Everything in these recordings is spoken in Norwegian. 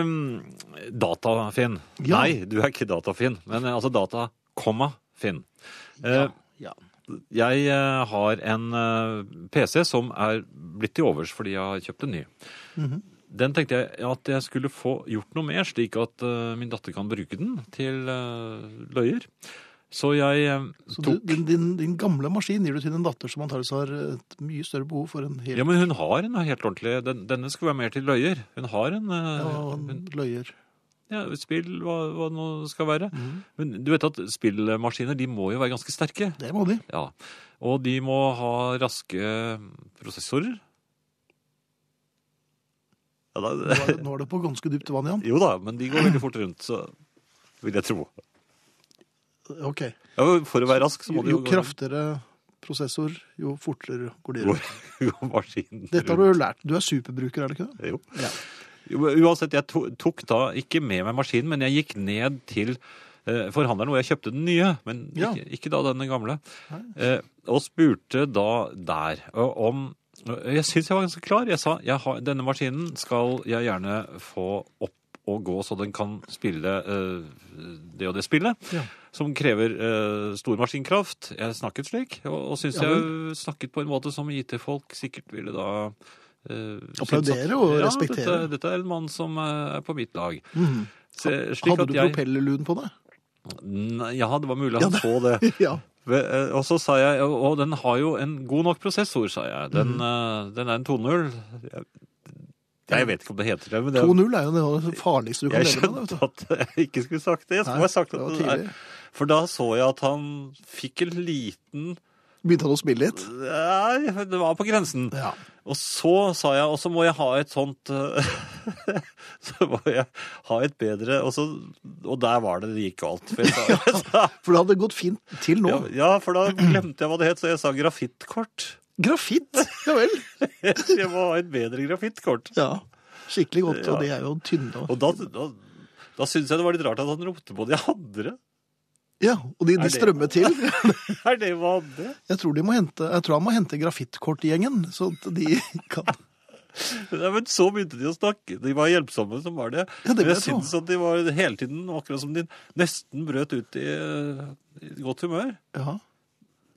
Um, Datafinn. Ja. Nei, du er ikke datafinn, men eh, altså data, komma, finn. Eh, Ja. Jeg eh, har en eh, PC som er blitt til overs fordi jeg har kjøpt en ny. Mhm. Den tenkte jeg at jeg skulle få gjort noe med, slik at eh, min datter kan bruke den til eh, løyer. Så jeg eh, Så du, tok din, din, din gamle maskin gir du til en datter som antakeligvis har et mye større behov for en hel Ja, men hun har en helt ordentlig den, Denne skulle være mer til løyer. Hun har en, eh, ja, hun, en løyer. ja, spill, hva, hva det nå skal være. Men du vet at spillmaskiner de må jo være ganske sterke. Det må de. Ja, og de må ha raske mm, prosessorer. Ja, Nå da, er det, nå er det på ganske dypt vann, Jan. jo da, men de går veldig fort rundt, så vil jeg tro. Ok. Ja, men for å være rask, så Jo, må de jo jo gå kraftigere prosessor, jo fortere går de Går- rundt. gå maskinen Dette har rundt. du jo lært. Du er superbruker, er det ikke det? Jo. Ja. Jo, men Uansett, jeg to- tok da ikke med meg maskinen, men jeg gikk ned til eh, forhandleren hvor jeg kjøpte den nye, men Ja. ikke, ikke da denne gamle, eh, og spurte da der og om og Jeg syns jeg var ganske klar. Jeg sa jeg har, denne maskinen skal jeg gjerne få opp og gå, så den kan spille eh, det og det spillet. Ja. Som krever eh, stor maskinkraft. Jeg snakket slik, og, og syns Ja, jeg snakket på en måte som IT-folk sikkert ville da eh, synes Applaudere at- og respektere. Dette, dette er en mann som eh, er på mitt lag. Så, slik Mhm. Hadde at du jeg, propellerluden på deg? Nei, Ja, det var mulig han så det. ja. Ve- eh, Og så sa jeg, og og den har jo en god nok prosessor, sa jeg. Mhm. Den, eh, den er en 2.0. Jeg, jeg vet ikke om det heter det, men det 2-0 er jo det farligste du kan jeg leve med. skjønte Vet du. at jeg ikke skulle sagt det. Jeg Nei, skulle ha sagt det at var den er tidlig. For da så jeg at han fikk en liten Begynte han å spille litt? Nei, det var på grensen. Ja. Og så sa jeg, og så må jeg ha et sånt eh, Så må jeg ha et bedre Og, så, og der var det det gikk galt. For jeg sa, jeg sa, For det hadde gått fint til nå. ja, ja, for da glemte jeg hva det het, så jeg sa grafittkort. Grafitt! Ja vel. Jeg må ha et bedre grafittkort. Ja. Skikkelig godt, Ja. og det er jo tynne. Og da, da, da syntes jeg det var litt rart at han ropte på de andre. Ja, og de, Er de det- strømmer til. Er det hva han det? Jeg tror, de må hente, jeg tror han må hente grafittkortgjengen, så at de kan Nei, men så begynte de å snakke. De var hjelpsomme, som var det. Ja, det Men vil jeg jeg tro. syntes at de var hele tiden akkurat som de nesten brøt ut i, eh, i godt humør. Ja.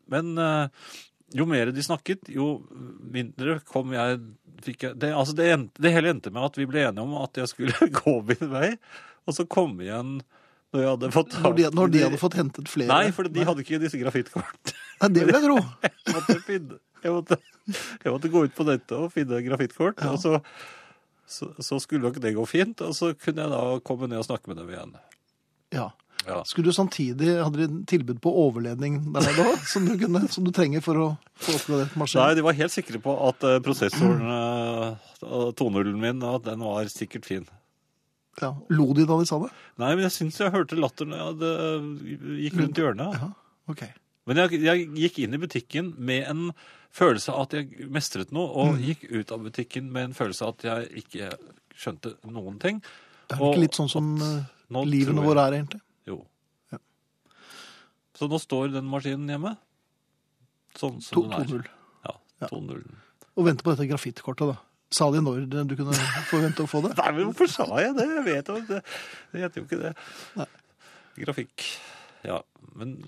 Men eh, jo mer de snakket, jo mindre kom jeg fikk jeg, det, altså det, endte, det hele endte med at vi ble enige om at jeg skulle gå min vei, og så komme igjen når jeg hadde fått Når de, når de hadde fått hentet flere. Nei, for de hadde ikke disse grafittkortene. Nei, det vil jeg tro. Jeg måtte, finne, jeg, måtte, jeg måtte gå ut på nettet og finne grafittkort, og så, så, så skulle nok det gå fint, og så kunne jeg da komme ned og snakke med dem igjen. Ja. Ja. Skulle du samtidig Hadde de tilbud på overledning der nede òg, som, du kunne- som du trenger for å få oppgradert Nei, maskinen? de var helt sikre på at eh, prosessoren, uh, 2.0-en min, at den var sikkert fin. Ja. Lo de da de sa det? Nei, men jeg syns jeg hørte latter når jeg hadde- eh, gikk rundt hjørnet. Ja. Ok. Men jeg, jeg gikk inn i butikken med en følelse av at jeg mestret noe, og gikk ut av butikken med en følelse av at jeg ikke skjønte noen ting. Det er ikke litt sånn som eh, nå livene tror jeg- våre er, egentlig. Jo. Så nå står den maskinen hjemme. Sånn som To- den 2-0. er. Ja, 2.0. Og vente på dette grafittkortet, da. Sa de når du kunne forvente å få det? Nei, men hvorfor sa jeg det? Jeg vet jo det. Jeg heter jo ikke det. Grafikk. Ja, men